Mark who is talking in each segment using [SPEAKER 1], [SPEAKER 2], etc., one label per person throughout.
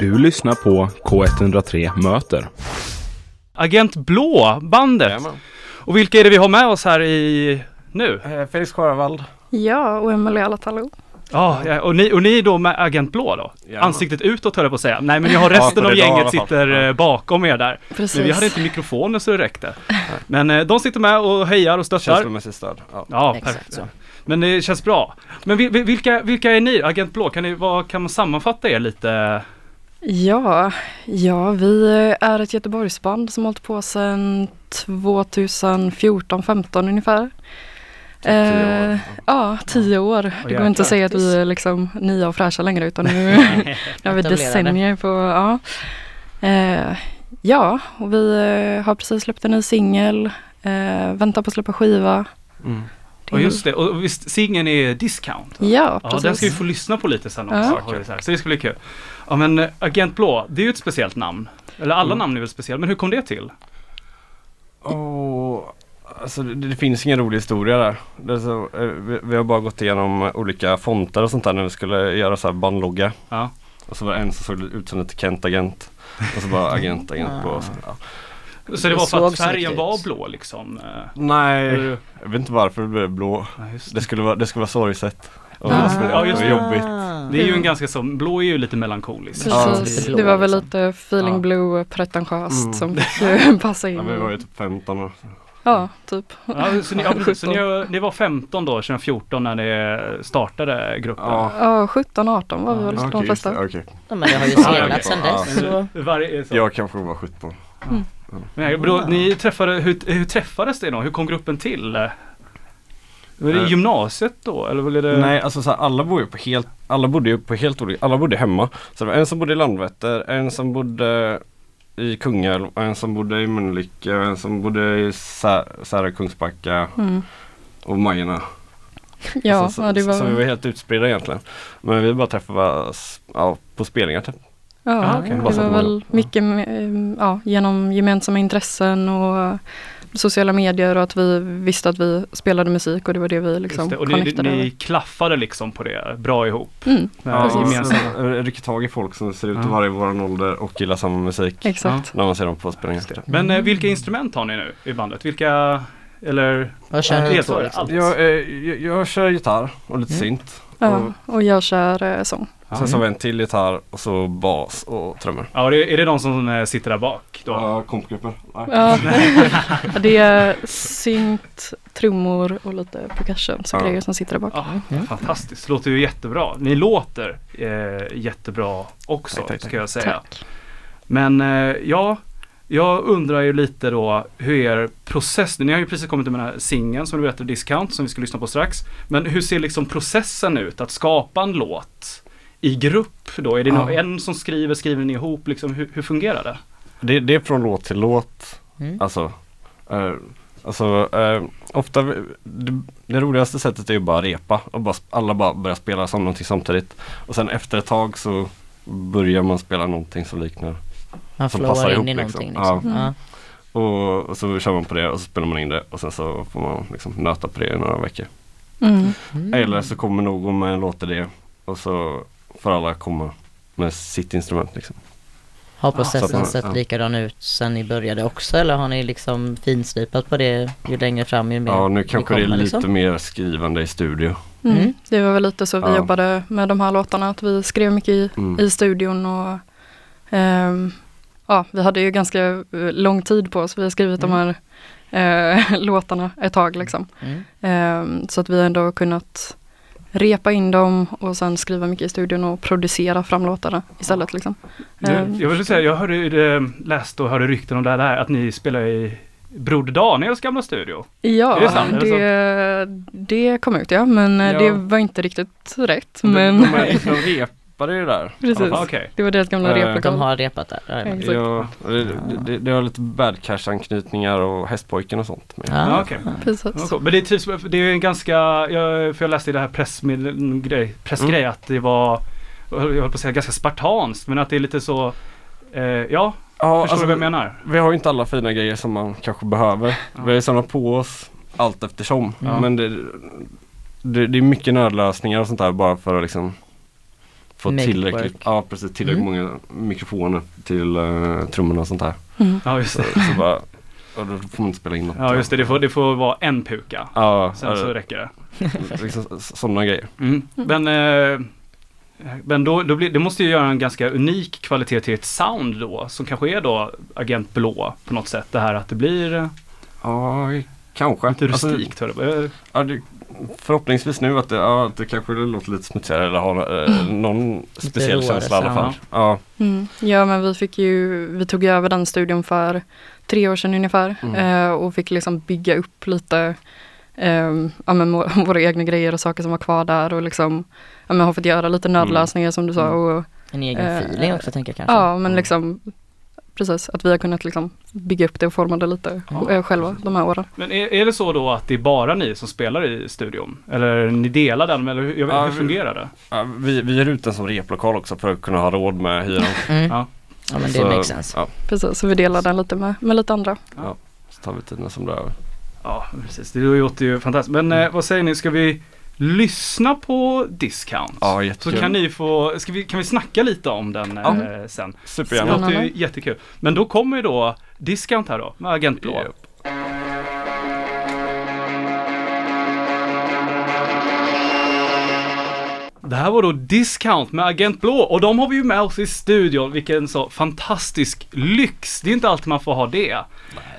[SPEAKER 1] Du lyssnar på K103 Möter.
[SPEAKER 2] Agent Blå, bandet. Och vilka är det vi har med oss här i nu?
[SPEAKER 3] Eh, Felix Sjöwall.
[SPEAKER 4] Ja, och Emelie Alatalo.
[SPEAKER 2] Ja, ja, och, ni, och ni är då med Agent Blå då?
[SPEAKER 3] Jajamän.
[SPEAKER 2] Ansiktet utåt höll jag på att säga. Nej, men ni har
[SPEAKER 3] Ja,
[SPEAKER 2] resten
[SPEAKER 3] på
[SPEAKER 2] av
[SPEAKER 3] det dag i
[SPEAKER 2] gänget
[SPEAKER 3] alla fall.
[SPEAKER 2] sitter
[SPEAKER 3] Ja.
[SPEAKER 2] eh, bakom er där. Men vi hade
[SPEAKER 4] Precis.
[SPEAKER 2] inte mikrofoner så det räckte. Men eh, de sitter med och hejar och stöttar.
[SPEAKER 3] Känslomässigt stöd. Ja.
[SPEAKER 2] Ja,
[SPEAKER 5] Exakt
[SPEAKER 2] perfekt.
[SPEAKER 5] så.
[SPEAKER 2] Men det känns bra. Men vi, vi, vilka, vilka är ni? Agent Blå, kan, ni, vad, kan man sammanfatta er lite?
[SPEAKER 4] Ja, ja, vi är ett Göteborgsband som har hållit på sedan 2014-15 ungefär.
[SPEAKER 3] år,
[SPEAKER 4] Eh, ja, tio år. Det går inte
[SPEAKER 2] jäklar.
[SPEAKER 4] att säga att vi är liksom nya och fräscha längre utan nu, nu har vi
[SPEAKER 5] Etablerade.
[SPEAKER 4] decennier på, ja. Eh, ja, och vi eh, har precis släppt en ny singel, eh, väntar på att släppa skiva.
[SPEAKER 3] Mm.
[SPEAKER 4] Det är-
[SPEAKER 2] Och just det, och visst singeln är Discount?
[SPEAKER 4] Ja,
[SPEAKER 2] Ja, den ska vi
[SPEAKER 4] precis.
[SPEAKER 2] få lyssna på lite sen också.
[SPEAKER 4] Ja.
[SPEAKER 2] har vi Så, här. så det ska bli kul. Ja men eh, Agent Blå, det är ju ett speciellt namn. Eller alla
[SPEAKER 3] Mm.
[SPEAKER 2] namn är väl speciella, men hur kom det till?
[SPEAKER 3] Och, alltså, det, det finns ingen rolig historia där. Det är så, eh, vi, vi har bara gått igenom eh, olika fonter och sånt där när vi skulle göra så här bandlogga.
[SPEAKER 2] Ja.
[SPEAKER 3] Och så var det en som såg ut som lite Kent Agent. Och så bara agent, agent blå.
[SPEAKER 2] Ah.
[SPEAKER 3] och så- Ja.
[SPEAKER 2] Så det var
[SPEAKER 5] Det
[SPEAKER 2] för att
[SPEAKER 5] såg snyggt
[SPEAKER 2] färgen
[SPEAKER 5] ut.
[SPEAKER 2] var blå liksom? eh,
[SPEAKER 3] Nej,
[SPEAKER 2] eller-
[SPEAKER 3] jag vet inte varför det blev blå.
[SPEAKER 2] Ja, just
[SPEAKER 3] Det
[SPEAKER 2] det.
[SPEAKER 3] skulle vara, det skulle vara sorgset. Och
[SPEAKER 2] Ah.
[SPEAKER 3] så-
[SPEAKER 2] Ja, just
[SPEAKER 3] och
[SPEAKER 2] det.
[SPEAKER 3] jobbigt.
[SPEAKER 2] det är ju en ganska som, blå är ju lite melankolisk.
[SPEAKER 3] Ja,
[SPEAKER 4] Precis,
[SPEAKER 5] precis.
[SPEAKER 4] det var väl
[SPEAKER 5] Blå,
[SPEAKER 4] lite feeling
[SPEAKER 2] Ja.
[SPEAKER 4] blue pretentiöst
[SPEAKER 3] Mm.
[SPEAKER 4] som fick eh, passa in.
[SPEAKER 3] Ja, vi var ju typ 15 år.
[SPEAKER 4] Ja, typ.
[SPEAKER 2] Ja, så ni, ja, precis. så ni, har- ni var 15 då, 2014 när ni startade gruppen?
[SPEAKER 3] Ja.
[SPEAKER 4] Ja, 17, 18 var vi
[SPEAKER 2] Ja,
[SPEAKER 4] väl
[SPEAKER 3] Okej,
[SPEAKER 4] de
[SPEAKER 3] just
[SPEAKER 4] flesta.
[SPEAKER 3] det, okej.
[SPEAKER 5] Ja, men det har ju
[SPEAKER 2] Ja,
[SPEAKER 5] stelnat sedan
[SPEAKER 3] ja.
[SPEAKER 5] dess. Så.
[SPEAKER 2] Varje, så.
[SPEAKER 3] Jag kanske var 17.
[SPEAKER 2] Men, bro, ni träffade, hur, hur träffades det då? Hur kom gruppen till? Var det i
[SPEAKER 3] Eh.
[SPEAKER 2] gymnasiet då? Eller var
[SPEAKER 4] Eh,
[SPEAKER 2] det...
[SPEAKER 3] Nej, alltså så här, alla bor ju på helt, alla bodde ju på helt olika, alla bodde hemma. Så det var en som bodde i Landvetter, en som bodde i Kungälv, och en som bodde i Mölnlycke, och en som bodde i Sä- Särö, Kungsbacka
[SPEAKER 4] Mm.
[SPEAKER 3] och Majorna. Alltså,
[SPEAKER 4] Ja,
[SPEAKER 3] så, så,
[SPEAKER 4] ja, det
[SPEAKER 3] så, vi var
[SPEAKER 4] var...
[SPEAKER 3] helt utspridda egentligen. Men vi bara träffades ja, på spelningar typ.
[SPEAKER 2] Ah,
[SPEAKER 4] Ja,
[SPEAKER 2] okej.
[SPEAKER 4] det
[SPEAKER 3] Bara så
[SPEAKER 4] var
[SPEAKER 3] att man-
[SPEAKER 4] väl mycket med, eh, ja, genom gemensamma intressen och sociala medier och att vi visste att vi spelade musik och det var det vi liksom
[SPEAKER 2] Just det, och ni,
[SPEAKER 4] connectade
[SPEAKER 2] ni
[SPEAKER 4] över.
[SPEAKER 2] klaffade liksom på det bra ihop?
[SPEAKER 4] Mm,
[SPEAKER 2] Med
[SPEAKER 3] Ja,
[SPEAKER 4] precis.
[SPEAKER 3] och Alltså, så
[SPEAKER 2] gemensamma.
[SPEAKER 3] rycker tag i folk som ser ut att
[SPEAKER 2] Ja.
[SPEAKER 3] vara i våran ålder och gillar samma musik.
[SPEAKER 4] exakt.
[SPEAKER 3] När man ser dem på spelningar. Typ.
[SPEAKER 2] Men eh, vilka instrument har ni nu i bandet? Vilka, eller?
[SPEAKER 5] Vad kör ni
[SPEAKER 2] Helt
[SPEAKER 5] på
[SPEAKER 2] var det,
[SPEAKER 5] liksom?
[SPEAKER 2] allt.
[SPEAKER 3] Jag, eh, jag, jag kör gitarr och lite synt.
[SPEAKER 4] Mm. Ja, och jag kör eh, sång.
[SPEAKER 3] Sen så har vi en till gitarr och så bas och trummor.
[SPEAKER 2] Ja, det, är det de som eh, sitter där bak då?
[SPEAKER 3] Ja, kompgruppen. Nej.
[SPEAKER 4] Ja. det är synt, trummor och lite percussion, så
[SPEAKER 3] Ja.
[SPEAKER 4] grejer som sitter där bak.
[SPEAKER 2] Ah,
[SPEAKER 3] Mm.
[SPEAKER 2] Fantastiskt, låter ju jättebra. Ni låter eh, jättebra också
[SPEAKER 3] Tack, tack, tack.
[SPEAKER 2] ska jag säga.
[SPEAKER 4] Tack.
[SPEAKER 2] Men eh, ja, jag undrar ju lite då hur er process, ni har ju precis kommit med den här singeln som du berättade, Discount, som vi ska lyssna på strax. Men hur ser liksom processen ut att skapa en låt i grupp då? Är det någon,
[SPEAKER 3] Ja.
[SPEAKER 2] en som skriver, skriver ni ihop liksom? Hur, hur fungerar det?
[SPEAKER 3] Det, det är från låt till låt.
[SPEAKER 5] Mm.
[SPEAKER 3] Alltså, eh, alltså eh, ofta, vi- det, det roligaste sättet är ju bara att repa och bara, sp- alla bara börjar spela som någonting samtidigt. Och sen efter ett tag så börjar man spela någonting som liknar.
[SPEAKER 5] Man
[SPEAKER 3] som passar
[SPEAKER 5] flowar in
[SPEAKER 3] ihop,
[SPEAKER 5] i
[SPEAKER 3] liksom.
[SPEAKER 5] någonting liksom.
[SPEAKER 4] Ja.
[SPEAKER 5] Ja.
[SPEAKER 3] Och, och så kör man på det och så spelar man in det och sen så får man liksom nöta på det i några veckor.
[SPEAKER 4] Mm.
[SPEAKER 3] Eller så kommer någon med en låtidé och så får alla komma med sitt instrument liksom.
[SPEAKER 5] Har
[SPEAKER 3] Så att
[SPEAKER 5] processen
[SPEAKER 3] man-
[SPEAKER 5] sett
[SPEAKER 3] ja.
[SPEAKER 5] likadan ut sen ni började också eller har ni liksom finslipat på det ju längre fram ju mer
[SPEAKER 3] Ja, nu
[SPEAKER 5] ni
[SPEAKER 3] kanske det är
[SPEAKER 5] kommer,
[SPEAKER 3] lite
[SPEAKER 5] liksom?
[SPEAKER 3] mer skrivande i studio.
[SPEAKER 4] Mm.
[SPEAKER 5] Mm.
[SPEAKER 4] Det var väl lite så vi
[SPEAKER 3] Ja.
[SPEAKER 4] jobbade med de här låtarna, att vi skrev mycket i,
[SPEAKER 3] Mm.
[SPEAKER 4] i studion och ehm, ja, vi hade ju ganska eh, lång tid på oss. Vi har skrivit de här eh, låtarna ett tag liksom.
[SPEAKER 5] Mm.
[SPEAKER 4] Ehm, så att vi ändå har kunnat repa in dem och sen skriva mycket i studion och producera fram låtarna istället liksom.
[SPEAKER 2] Du,
[SPEAKER 3] Mm.
[SPEAKER 4] Ehm,
[SPEAKER 2] jag vill säga, jag hörde, ju det- läste och hörde rykten om det här att ni spelar i Broder Daniels gamla studio.
[SPEAKER 4] ja,
[SPEAKER 2] Är det sant? Är det
[SPEAKER 4] det, det kom ut ja, men eh,
[SPEAKER 3] Ja.
[SPEAKER 4] det var inte riktigt rätt.
[SPEAKER 3] De-
[SPEAKER 4] Men
[SPEAKER 3] De, de, de repade ju där.
[SPEAKER 4] Precis.
[SPEAKER 3] i alla fall.
[SPEAKER 2] Ah, Okej.
[SPEAKER 4] det var deras gamla
[SPEAKER 3] Eh, de
[SPEAKER 4] replokal.
[SPEAKER 5] De har repat där? Ja,
[SPEAKER 4] Exakt.
[SPEAKER 3] Ja, det, det, det har lite bad cash anknytningar och hästpojken och sånt. med.
[SPEAKER 5] Ja.
[SPEAKER 2] Ja, okej.
[SPEAKER 4] Precis.
[SPEAKER 2] Ja, cool. Men det är, trivs, det är en ganska, jag, för jag läste i det här pressmedel-
[SPEAKER 3] Mm.
[SPEAKER 2] grej- pressgrej att det var, jag höll på att säga ganska spartanskt, men att det är lite så, eh, ja,
[SPEAKER 3] Ja,
[SPEAKER 2] förstår
[SPEAKER 3] alltså,
[SPEAKER 2] du vad jag menar?
[SPEAKER 3] Vi har ju inte alla fina grejer som man kanske behöver. Vi har ju samlat på oss allt eftersom.
[SPEAKER 2] Ja.
[SPEAKER 3] Men det, det, det är mycket nödlösningar och sånt där bara för att liksom få
[SPEAKER 5] Make it
[SPEAKER 3] tillräckligt,
[SPEAKER 5] work.
[SPEAKER 3] ja, precis, tillräckligt många mikrofoner till uh, trummorna och sånt där.
[SPEAKER 2] Ja just
[SPEAKER 3] Så,
[SPEAKER 2] det.
[SPEAKER 3] så bara, och då får man inte spela in något.
[SPEAKER 2] Ja just det, det får, det får vara en puka.
[SPEAKER 3] Ja, eh,
[SPEAKER 2] Sen så räcker det.
[SPEAKER 3] liksom, sådana grejer.
[SPEAKER 2] Mm. Men, eh, men då, då blir, det måste ju göra en ganska unik kvalitet till ett sound då, som kanske är då Agent Blå på något sätt. Det här att det blir eh,
[SPEAKER 3] Ja, kanske.
[SPEAKER 2] lite
[SPEAKER 3] Alltså,
[SPEAKER 2] rustikt. hör du. Eh,
[SPEAKER 3] Ja, det, förhoppningsvis nu att det, ja, att det kanske låter lite smutsigare eller har eh, någon speciell
[SPEAKER 5] råare
[SPEAKER 3] känsla i alla fall.
[SPEAKER 2] sound.
[SPEAKER 3] Ja,
[SPEAKER 4] Mm. Ja men vi fick ju, vi tog ju över den studion för tre år sedan ungefär
[SPEAKER 3] Mm.
[SPEAKER 4] eh, och fick liksom bygga upp lite eh, ja, men, må- våra egna grejer och saker som var kvar där och liksom ja, men, har fått göra lite nödlösningar som du sa
[SPEAKER 3] Mm.
[SPEAKER 4] och
[SPEAKER 5] En egen
[SPEAKER 4] Eh,
[SPEAKER 5] feeling också tänker jag kanske.
[SPEAKER 4] ja men
[SPEAKER 3] Mm.
[SPEAKER 4] liksom precis att vi har kunnat liksom bygga upp det och forma det lite eh, själva de här åren.
[SPEAKER 2] Men är, är det så då att det är bara ni som spelar i studion? Eller ni delar den? Eller hur, jag vet,
[SPEAKER 3] Ja,
[SPEAKER 2] hur
[SPEAKER 3] vi-
[SPEAKER 2] fungerar det?
[SPEAKER 3] ja, vi, vi är ut den som replokal också för att kunna ha råd med hyran.
[SPEAKER 5] Mm.
[SPEAKER 2] Ja.
[SPEAKER 5] Ja. men det
[SPEAKER 3] Så,
[SPEAKER 5] makes sense.
[SPEAKER 3] Ja,
[SPEAKER 4] Precis så vi delar den lite med, med lite andra.
[SPEAKER 3] så tar vi tiden som det är.
[SPEAKER 2] Ja, precis. Det låter ju fantastiskt. Men
[SPEAKER 3] Mm.
[SPEAKER 2] eh, vad säger ni, ska vi lyssna på Discount?
[SPEAKER 3] Ja,
[SPEAKER 2] Så
[SPEAKER 3] jättekul.
[SPEAKER 2] kan ni få, ska vi, kan vi snacka lite om den eh, sen? Det
[SPEAKER 3] Supergärna.
[SPEAKER 2] låter ju jättekul. Men då kommer ju då Discount här då, med Agent Blå.
[SPEAKER 3] Japp.
[SPEAKER 2] Det här var då Discount med Agent Blå och de har vi ju med oss i studion. Vilken så fantastisk lyx. Det är inte alltid man får ha det.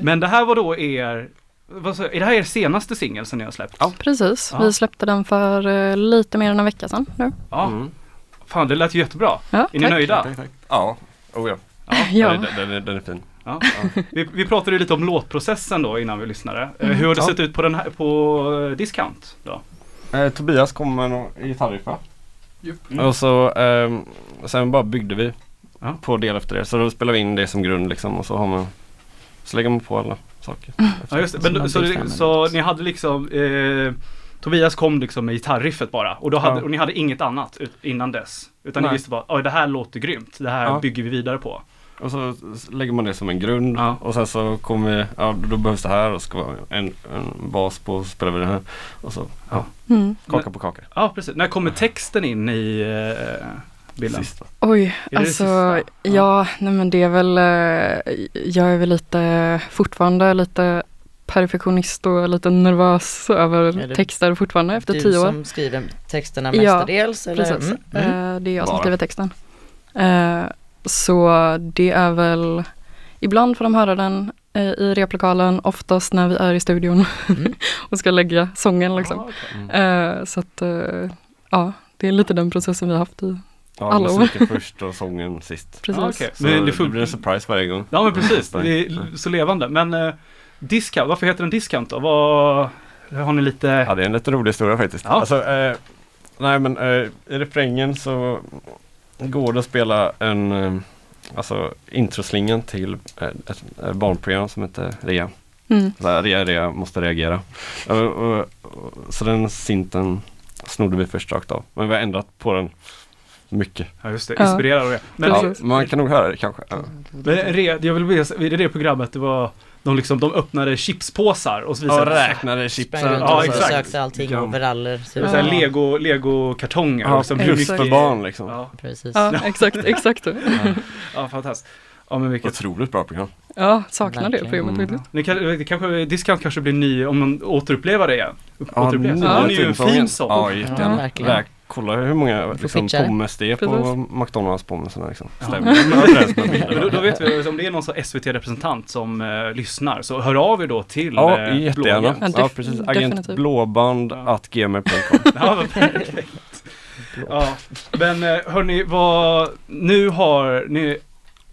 [SPEAKER 2] Men det här var då er, vad sa, jag, är det här er senaste singel som ni har släppt?
[SPEAKER 3] Ja.
[SPEAKER 4] Precis,
[SPEAKER 2] Ja.
[SPEAKER 4] vi släppte den för eh, lite mer än en vecka sedan nu.
[SPEAKER 2] ja.
[SPEAKER 3] Mm.
[SPEAKER 2] Fan det lät ju jättebra.
[SPEAKER 4] Ja,
[SPEAKER 2] Är ni
[SPEAKER 4] tack.
[SPEAKER 2] nöjda?
[SPEAKER 3] Ja, oh, ja.
[SPEAKER 4] Ja.
[SPEAKER 3] Den, är- den, är- den är fin.
[SPEAKER 2] Ja. Vi, vi pratade ju lite om låtprocessen då innan vi lyssnade. Eh, Hur har det
[SPEAKER 3] Mm. Ja.
[SPEAKER 2] sett ut på, den här, på eh, discount då?
[SPEAKER 3] Eh, Tobias kom med en gitarriff va? Och så ehm, sen bara byggde vi
[SPEAKER 2] Ja.
[SPEAKER 3] på del efter det. Så då spelade vi in det som grund liksom och så har man så lägger man på alla saker.
[SPEAKER 2] Ja just det. Men,
[SPEAKER 5] Som
[SPEAKER 2] då-
[SPEAKER 5] man
[SPEAKER 2] så,
[SPEAKER 5] byggt
[SPEAKER 2] det-
[SPEAKER 5] fram
[SPEAKER 2] så
[SPEAKER 5] en-
[SPEAKER 2] ni hade liksom eh, Tobias kom liksom med gitarriffet bara och, då hade,
[SPEAKER 3] Ja.
[SPEAKER 2] och ni hade inget annat ut, innan dess. Utan
[SPEAKER 3] Nej.
[SPEAKER 2] ni visste bara, "Oj, det här låter grymt, det här
[SPEAKER 3] Ja.
[SPEAKER 2] bygger vi vidare på.
[SPEAKER 3] Och så s- lägger man det som en grund
[SPEAKER 2] Ja.
[SPEAKER 3] och sen så kommer vi, ja då behövs det här och ska vara en, en bas på och så spelar vi den här. Och så ja,
[SPEAKER 4] Mm.
[SPEAKER 3] kaka på kaka.
[SPEAKER 2] Ja precis, när kommer texten in i eh, bilden?
[SPEAKER 3] Sist, va?
[SPEAKER 4] Oj,
[SPEAKER 2] det
[SPEAKER 4] alltså
[SPEAKER 2] sista?
[SPEAKER 4] ja, nej men det är väl, eh, jag är väl lite, fortfarande lite perfektionist och lite nervös
[SPEAKER 5] Är
[SPEAKER 4] över
[SPEAKER 5] det
[SPEAKER 4] texter fortfarande efter
[SPEAKER 5] du
[SPEAKER 4] tio år.
[SPEAKER 5] som skriver texterna
[SPEAKER 4] Ja,
[SPEAKER 5] mestadels eller?
[SPEAKER 4] Precis,
[SPEAKER 5] Mm, mm.
[SPEAKER 4] Eh, det är jag som
[SPEAKER 3] Bara.
[SPEAKER 4] skriver texten. Eh, så det är väl, ibland får de höra den eh, i replokalen, oftast när vi är i studion
[SPEAKER 5] Mm.
[SPEAKER 4] och ska lägga sången liksom.
[SPEAKER 2] Ja, Ah, okej.
[SPEAKER 4] Eh, så att, eh, ja, det är lite den processen vi har haft i,
[SPEAKER 3] Ja,
[SPEAKER 4] Hallå.
[SPEAKER 3] musiken först och sången sist.
[SPEAKER 4] precis.
[SPEAKER 2] Ja, Ah, okej.
[SPEAKER 3] Så
[SPEAKER 2] Men det
[SPEAKER 3] det, blir
[SPEAKER 2] funkar.
[SPEAKER 3] en surprise varje gång.
[SPEAKER 2] Ja men precis,
[SPEAKER 3] Ja,
[SPEAKER 2] det är så levande. Men eh, discount, varför heter den discount då? Vad, har ni lite
[SPEAKER 3] Ja, det är en lite rolig historia faktiskt.
[SPEAKER 2] Ja.
[SPEAKER 3] Alltså, eh, nej men eh, i refrängen så går det att spela en eh, Alltså introslingan till eh, ett ett barnprogram som heter Rea.
[SPEAKER 4] Mm.
[SPEAKER 3] Så här, Rea, Rea, måste reagera. Eh, och, och, så den synten snodde vi först rakt av. Men vi har ändrat på den mycket.
[SPEAKER 2] Ja just det,
[SPEAKER 4] Ja.
[SPEAKER 2] inspirerad av det. Men,
[SPEAKER 3] ja,
[SPEAKER 4] Precis.
[SPEAKER 3] man kan nog höra det kanske. Ja.
[SPEAKER 2] men re, jag vill veta, vid det programmet det var de liksom, de öppnade chipspåsar och så
[SPEAKER 3] Och
[SPEAKER 2] visade
[SPEAKER 3] räknade
[SPEAKER 5] Sprang
[SPEAKER 3] chipsen.
[SPEAKER 5] runt
[SPEAKER 2] Ja,
[SPEAKER 5] och så
[SPEAKER 2] exakt.
[SPEAKER 5] sökte allting,
[SPEAKER 3] Ja.
[SPEAKER 5] overaller. Så
[SPEAKER 2] det var så här lego, legokartonger.
[SPEAKER 3] Ja,
[SPEAKER 2] och så hur
[SPEAKER 4] exakt.
[SPEAKER 2] mycket-
[SPEAKER 3] för barn liksom.
[SPEAKER 2] Ja,
[SPEAKER 5] Precis.
[SPEAKER 4] Ja, exakt, exakt.
[SPEAKER 2] ja fantastiskt. Ja men vilket.
[SPEAKER 3] Otroligt bra program.
[SPEAKER 4] Ja, saknar det
[SPEAKER 5] Verkligen.
[SPEAKER 4] programmet
[SPEAKER 3] Mm.
[SPEAKER 4] faktiskt.
[SPEAKER 2] Ni kan, det kanske, discount kanske blir ny om man återupplever det igen.
[SPEAKER 3] Ja,
[SPEAKER 2] återupplevs.
[SPEAKER 3] nya
[SPEAKER 2] Den är ju en
[SPEAKER 3] Timsången.
[SPEAKER 2] fin sång.
[SPEAKER 3] Ja,
[SPEAKER 5] Ja,
[SPEAKER 3] jättegärna.
[SPEAKER 5] verkligen.
[SPEAKER 3] Lä- kolla hur många
[SPEAKER 5] får
[SPEAKER 3] liksom,
[SPEAKER 5] pitcha det.
[SPEAKER 3] pommes det är på
[SPEAKER 4] Precis.
[SPEAKER 3] McDonalds pommesarna. Liksom.
[SPEAKER 2] Ja.
[SPEAKER 3] Stämmer. De är överens med bilden.
[SPEAKER 2] Men då, då vet vi, om det är någon sån SVT-representant som eh, lyssnar så hör av er då till
[SPEAKER 3] Ja,
[SPEAKER 2] eh,
[SPEAKER 3] jättegärna.
[SPEAKER 2] bloggen.
[SPEAKER 4] Ja,
[SPEAKER 3] Ja,
[SPEAKER 4] def-
[SPEAKER 3] precis.
[SPEAKER 4] definitivt.
[SPEAKER 3] Agentblåband.gmail.com
[SPEAKER 2] Ja, vad perfekt. Ja, men eh, hörni, vad, nu har ni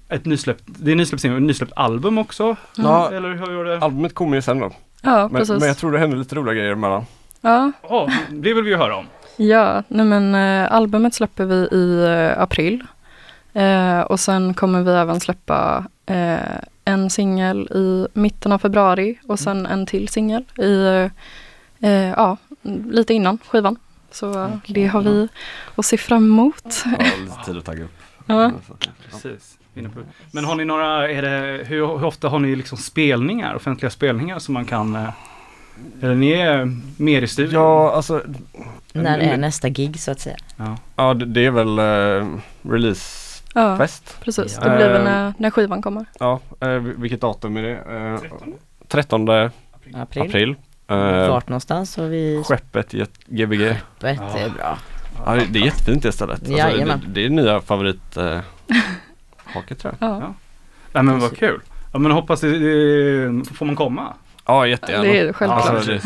[SPEAKER 2] ett nysläppt, det är nysläppt singel, nysläppt album också?
[SPEAKER 3] Ja.
[SPEAKER 2] Eller hur gör det?
[SPEAKER 3] Albumet kommer ju sen då.
[SPEAKER 4] Ja,
[SPEAKER 3] Men,
[SPEAKER 4] precis.
[SPEAKER 3] men jag tror det händer lite roliga grejer emellan.
[SPEAKER 4] Ja,
[SPEAKER 2] Ja, det vill vi ju höra om.
[SPEAKER 4] Ja, nej men eh, albumet släpper vi i eh, april. Eh, och sen kommer vi även släppa eh, en singel i mitten av februari och sen en till singel i, eh, eh, ja, lite innan skivan. Så eh, det har vi att se fram emot.
[SPEAKER 3] Ja, lite tid att tagga upp.
[SPEAKER 4] Ja.
[SPEAKER 3] Mm.
[SPEAKER 2] Precis. Inne på- Men har ni några, är det, hur, hur ofta har ni liksom spelningar, offentliga spelningar som man kan eh, Eller ni är mer i studion?
[SPEAKER 3] Ja, alltså
[SPEAKER 5] När är nästa gig så att säga?
[SPEAKER 2] Ja.
[SPEAKER 3] ja, det, det är väl eh, releasefest.
[SPEAKER 4] Ja, precis. Det blir väl när, när skivan kommer.
[SPEAKER 3] Ja, eh, vil- vilket datum är det? Eh, 13
[SPEAKER 5] April?
[SPEAKER 3] april. Eh,
[SPEAKER 5] Vart någonstans? Och vi...
[SPEAKER 3] Skeppet i ett GBG.
[SPEAKER 5] Skeppet är bra.
[SPEAKER 3] Ja, det- det är jättefint det stället. Alltså, det,
[SPEAKER 5] Jajamän.
[SPEAKER 3] det är nya favorit eh, haket tror jag.
[SPEAKER 4] Ja,
[SPEAKER 2] Nej men vad kul. Ja men hoppas det, det, får man komma?
[SPEAKER 3] Ja, jättegärna.
[SPEAKER 4] det är självklart.
[SPEAKER 3] Alltså, det-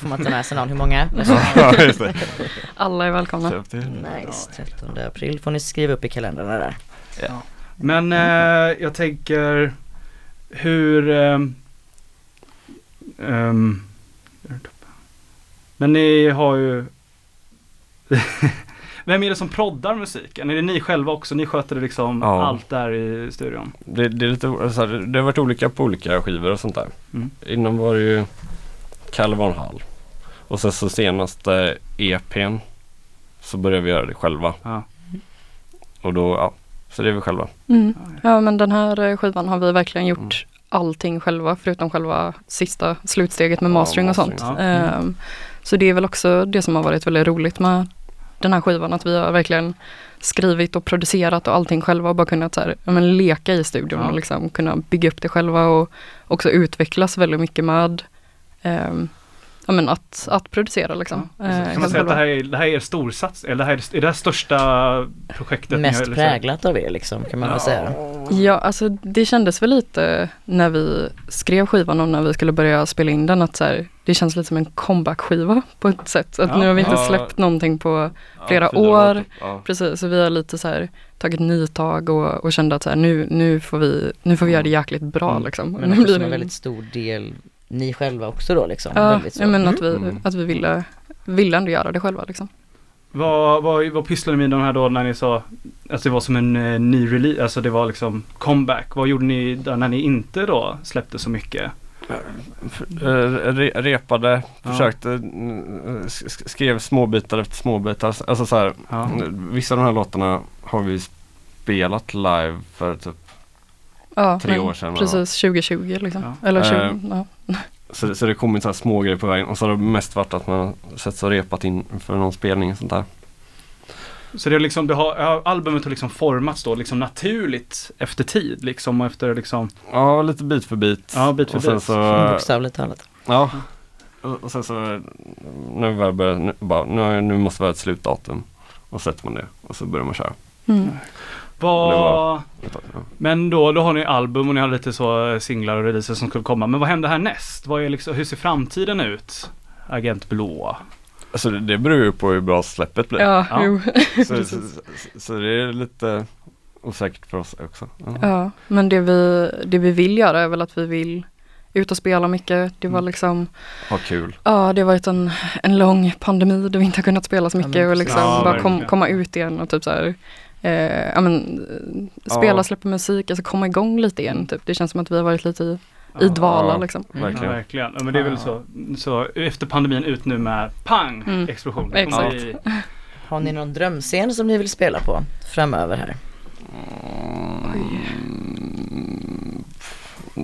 [SPEAKER 5] Får man ta med sig någon? Hur många?
[SPEAKER 3] ja, just det.
[SPEAKER 4] Alla är välkomna.
[SPEAKER 3] Köp till.
[SPEAKER 5] Nice, 13 april får ni skriva upp i kalendrarna där.
[SPEAKER 2] Men eh, jag tänker hur... ehm, ehm, men ni har ju... Vem är det som proddar musiken? Är det ni själva också? Ni sköter det liksom
[SPEAKER 3] Ja.
[SPEAKER 2] allt där i studion?
[SPEAKER 3] Det, det, är lite, så här, det har varit olika på olika skivor och sånt där.
[SPEAKER 2] Mm.
[SPEAKER 3] Innan var det ju Kalle von Hall. Och sen så senaste EPn så började vi göra det själva.
[SPEAKER 2] Ja.
[SPEAKER 3] Och då, ja, så det är vi själva.
[SPEAKER 4] Mm.
[SPEAKER 2] Ja,
[SPEAKER 4] Ja, men den här eh, skivan har vi
[SPEAKER 3] Mm.
[SPEAKER 4] verkligen gjort allting själva, förutom själva sista slutsteget med
[SPEAKER 3] Ja,
[SPEAKER 4] mastering och sånt.
[SPEAKER 3] mastering.
[SPEAKER 2] Ja. Mm.
[SPEAKER 4] Ehm, Så det är väl också det som har varit väldigt roligt med den här skivan, att vi har verkligen skrivit och producerat och allting själva och bara kunnat så här, ja, men leka i studion
[SPEAKER 2] Ja.
[SPEAKER 4] och liksom kunna bygga upp det själva och också utvecklas väldigt mycket med ehm, ja, men att, att producera liksom.
[SPEAKER 2] Ja,
[SPEAKER 4] eh,
[SPEAKER 2] precis. kan man
[SPEAKER 4] helt
[SPEAKER 2] säga att det
[SPEAKER 4] själva.
[SPEAKER 2] här är, det här är er storsats? Eller det här är, är det här största projektet? ni har-
[SPEAKER 5] Mest
[SPEAKER 2] eller så här?
[SPEAKER 5] präglat av er liksom kan man väl säga.
[SPEAKER 4] Ja, alltså det kändes väl lite när vi skrev skivan och när vi skulle börja spela in den att så här, det känns lite som en comeback-skiva på ett sätt. Att
[SPEAKER 2] Ja.
[SPEAKER 4] nu har vi inte
[SPEAKER 3] Ja.
[SPEAKER 4] släppt någonting på,
[SPEAKER 3] Ja,
[SPEAKER 4] Flera
[SPEAKER 3] fyra
[SPEAKER 4] år.
[SPEAKER 3] typ. Ja.
[SPEAKER 4] precis, så vi har lite så här tagit nytag och, och kände att så här, nu, nu, får vi, nu får vi göra det jäkligt bra
[SPEAKER 3] Mm.
[SPEAKER 4] liksom.
[SPEAKER 5] Men
[SPEAKER 4] nu
[SPEAKER 5] också
[SPEAKER 4] blir
[SPEAKER 5] som
[SPEAKER 4] det-
[SPEAKER 5] en väldigt stor del, ni själva också då liksom.
[SPEAKER 4] ja,
[SPEAKER 5] väldigt så.
[SPEAKER 4] jag menar
[SPEAKER 5] Mm.
[SPEAKER 4] att vi,
[SPEAKER 3] Mm.
[SPEAKER 4] att vi ville, ville ändå göra det själva liksom.
[SPEAKER 2] Vad, vad, vad pysslade ni med de här då när ni sa att det var som en eh, ny release, alltså det var liksom comeback. Vad gjorde ni där när ni inte då släppte så mycket?
[SPEAKER 3] Eh, re, repade,
[SPEAKER 2] Ja.
[SPEAKER 3] försökte, mm, sk- sk- skrev småbitar efter småbitar. Alltså så här,
[SPEAKER 2] Ja.
[SPEAKER 3] vissa av de här låtarna har vi spelat live för typ
[SPEAKER 4] Ja,
[SPEAKER 3] Tre
[SPEAKER 4] men
[SPEAKER 3] år sedan, va?
[SPEAKER 4] Precis, 2020 liksom.
[SPEAKER 2] Ja.
[SPEAKER 4] Eller 20,
[SPEAKER 3] Eh,
[SPEAKER 4] ja.
[SPEAKER 3] Så, så det kommer så här små grejer på vägen och så har det mest varit att man har sett sig och repat in för någon spelning och sånt där.
[SPEAKER 2] Så det är liksom, det har, ja, albumet har liksom formats då liksom naturligt efter tid liksom och efter liksom.
[SPEAKER 3] Ja, lite bit för bit.
[SPEAKER 2] Ja, bit för
[SPEAKER 3] och sen
[SPEAKER 2] bit.
[SPEAKER 3] Så,
[SPEAKER 5] Bokstavligt talat.
[SPEAKER 3] ja. Och och sen så, när vi väl börjar, nu, bara, nu, har jag- nu måste vi ha ett slutdatum. Och så sätter man det och så börjar man köra.
[SPEAKER 4] Mm.
[SPEAKER 2] Vad,
[SPEAKER 3] Det var- Ja.
[SPEAKER 2] men då, då har ni album och ni har lite så eh, singlar och releaser som skulle komma. Men vad händer härnäst? Vad är liksom, hur ser framtiden ut? Agent Blå.
[SPEAKER 3] Alltså det, det beror ju på hur bra släppet blir.
[SPEAKER 4] Ja,
[SPEAKER 2] Ja.
[SPEAKER 4] Jo.
[SPEAKER 3] så, så, så, så det är lite osäkert för oss också. Ja.
[SPEAKER 4] Ja, men det vi, det vi vill göra är väl att vi vill ut och spela mycket. Det var liksom,
[SPEAKER 3] Ha kul.
[SPEAKER 4] ja det har varit en, en lång pandemi där vi inte har kunnat spela så
[SPEAKER 5] Ja, men
[SPEAKER 4] mycket och
[SPEAKER 5] precis.
[SPEAKER 4] liksom
[SPEAKER 2] Ja,
[SPEAKER 4] bara
[SPEAKER 2] verkligen.
[SPEAKER 4] kom, komma ut igen och typ så här, eh, ja men eh, spela,
[SPEAKER 3] Ja.
[SPEAKER 4] släppa musik, alltså komma igång lite igen typ. Det känns som att vi har varit lite i, i dvala
[SPEAKER 3] Ja.
[SPEAKER 4] liksom.
[SPEAKER 2] Ja,
[SPEAKER 3] Verkligen.
[SPEAKER 2] verkligen. Ja, men det är väl så, så efter pandemin ut nu med pang
[SPEAKER 4] Mm.
[SPEAKER 2] explosion.
[SPEAKER 4] Exakt.
[SPEAKER 2] Kommer i-
[SPEAKER 5] Har ni någon drömscen som ni vill spela på framöver här?
[SPEAKER 3] Ja. Mm.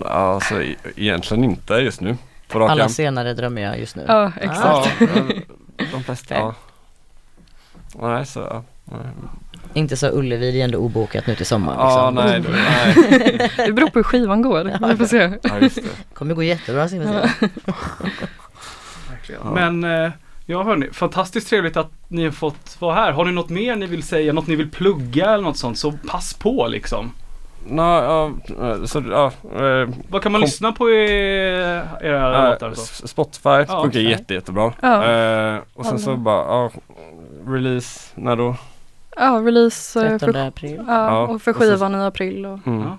[SPEAKER 3] Alltså e- egentligen inte just nu. På rak
[SPEAKER 5] Alla
[SPEAKER 3] arm.
[SPEAKER 5] senare drömmer jag just nu.
[SPEAKER 4] Ja, exakt.
[SPEAKER 5] Ah,
[SPEAKER 3] Ja, eh, de flesta. Ja. Nej, så ja. Nej.
[SPEAKER 5] Inte så Ullevi, det är ändå obokat nu till sommaren.
[SPEAKER 3] Ja,
[SPEAKER 5] Liksom.
[SPEAKER 3] nej, det- nej.
[SPEAKER 4] Det beror på hur skivan går, vi får se.
[SPEAKER 3] Ja, just det.
[SPEAKER 5] Mm. kommer gå jättebra ska vi säga.
[SPEAKER 2] Verkligen. Men eh, ja hörni, fantastiskt trevligt att ni har fått vara här. Har ni något mer ni vill säga, något ni vill plugga eller något sånt så pass på liksom.
[SPEAKER 3] Nå, ja, eh, så, ja, eh,
[SPEAKER 2] Vad kan man
[SPEAKER 3] Kom-
[SPEAKER 2] lyssna på i era
[SPEAKER 3] eh,
[SPEAKER 2] låtar och så?
[SPEAKER 3] S- Spotify funkar
[SPEAKER 2] okej.
[SPEAKER 3] jätte, jättebra.
[SPEAKER 4] Ja.
[SPEAKER 3] Eh, och sen så
[SPEAKER 4] Håller.
[SPEAKER 3] bara, ja, release, när då?
[SPEAKER 4] Ja, release eh,
[SPEAKER 5] 13
[SPEAKER 4] för,
[SPEAKER 5] april.
[SPEAKER 4] ja, och för
[SPEAKER 3] och sen-
[SPEAKER 4] skivan i april och
[SPEAKER 3] Mm.
[SPEAKER 2] Ja.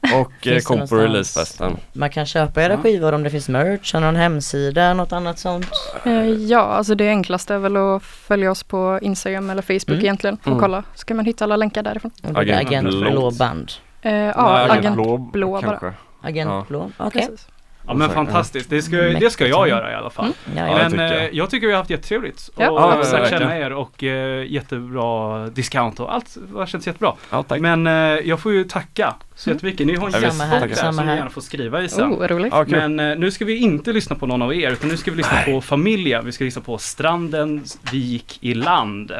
[SPEAKER 3] Och eh,
[SPEAKER 5] Finns det
[SPEAKER 3] kom på
[SPEAKER 5] någonstans?
[SPEAKER 3] releasefesten.
[SPEAKER 5] Man kan köpa era
[SPEAKER 2] Ja.
[SPEAKER 5] skivor om det finns merch, har någon hemsida, något annat sånt.
[SPEAKER 4] Eh, Ja, alltså det enklaste är väl att följa oss på Instagram eller Facebook
[SPEAKER 5] Mm.
[SPEAKER 4] egentligen och
[SPEAKER 3] Mm.
[SPEAKER 4] kolla. Så kan man hitta alla länkar därifrån.
[SPEAKER 5] Och det är
[SPEAKER 3] Agent
[SPEAKER 5] Agent
[SPEAKER 3] Blå.
[SPEAKER 5] Blå band.
[SPEAKER 4] Eh, ja,
[SPEAKER 3] Nej,
[SPEAKER 4] agent,
[SPEAKER 3] Agent Blå
[SPEAKER 4] Blå bara.
[SPEAKER 3] kanske.
[SPEAKER 5] Agent
[SPEAKER 3] Ja.
[SPEAKER 5] Blå, okej.
[SPEAKER 4] Precis.
[SPEAKER 2] Ja men
[SPEAKER 3] Exakt,
[SPEAKER 2] fantastiskt. Det ska, det ska jag göra i alla fall.
[SPEAKER 5] Mm.
[SPEAKER 3] Ja,
[SPEAKER 5] Ja, ja.
[SPEAKER 3] det
[SPEAKER 2] Men
[SPEAKER 3] tycker
[SPEAKER 2] jag.
[SPEAKER 3] jag.
[SPEAKER 2] Eh, jag tycker vi har haft jättetrevligt.
[SPEAKER 4] Ja,
[SPEAKER 2] och lärt
[SPEAKER 3] absolut.
[SPEAKER 2] känna er och eh, jättebra discount och allt har känts jättebra.
[SPEAKER 3] Ja, tack.
[SPEAKER 2] Men eh, jag får ju tacka
[SPEAKER 3] Mm.
[SPEAKER 2] så jättemycket. Ni har en
[SPEAKER 3] Ja, visst.
[SPEAKER 2] gästbok
[SPEAKER 3] Samma
[SPEAKER 2] där
[SPEAKER 3] här,
[SPEAKER 2] som
[SPEAKER 5] samma
[SPEAKER 2] ni
[SPEAKER 5] här.
[SPEAKER 2] gärna får skriva i sen.
[SPEAKER 4] Oh, vad roligt.
[SPEAKER 3] Ja, kul.
[SPEAKER 2] Men eh, nu ska vi inte lyssna på någon av er utan nu ska vi lyssna på familjen. Vi ska lyssna på stranden vi gick i land.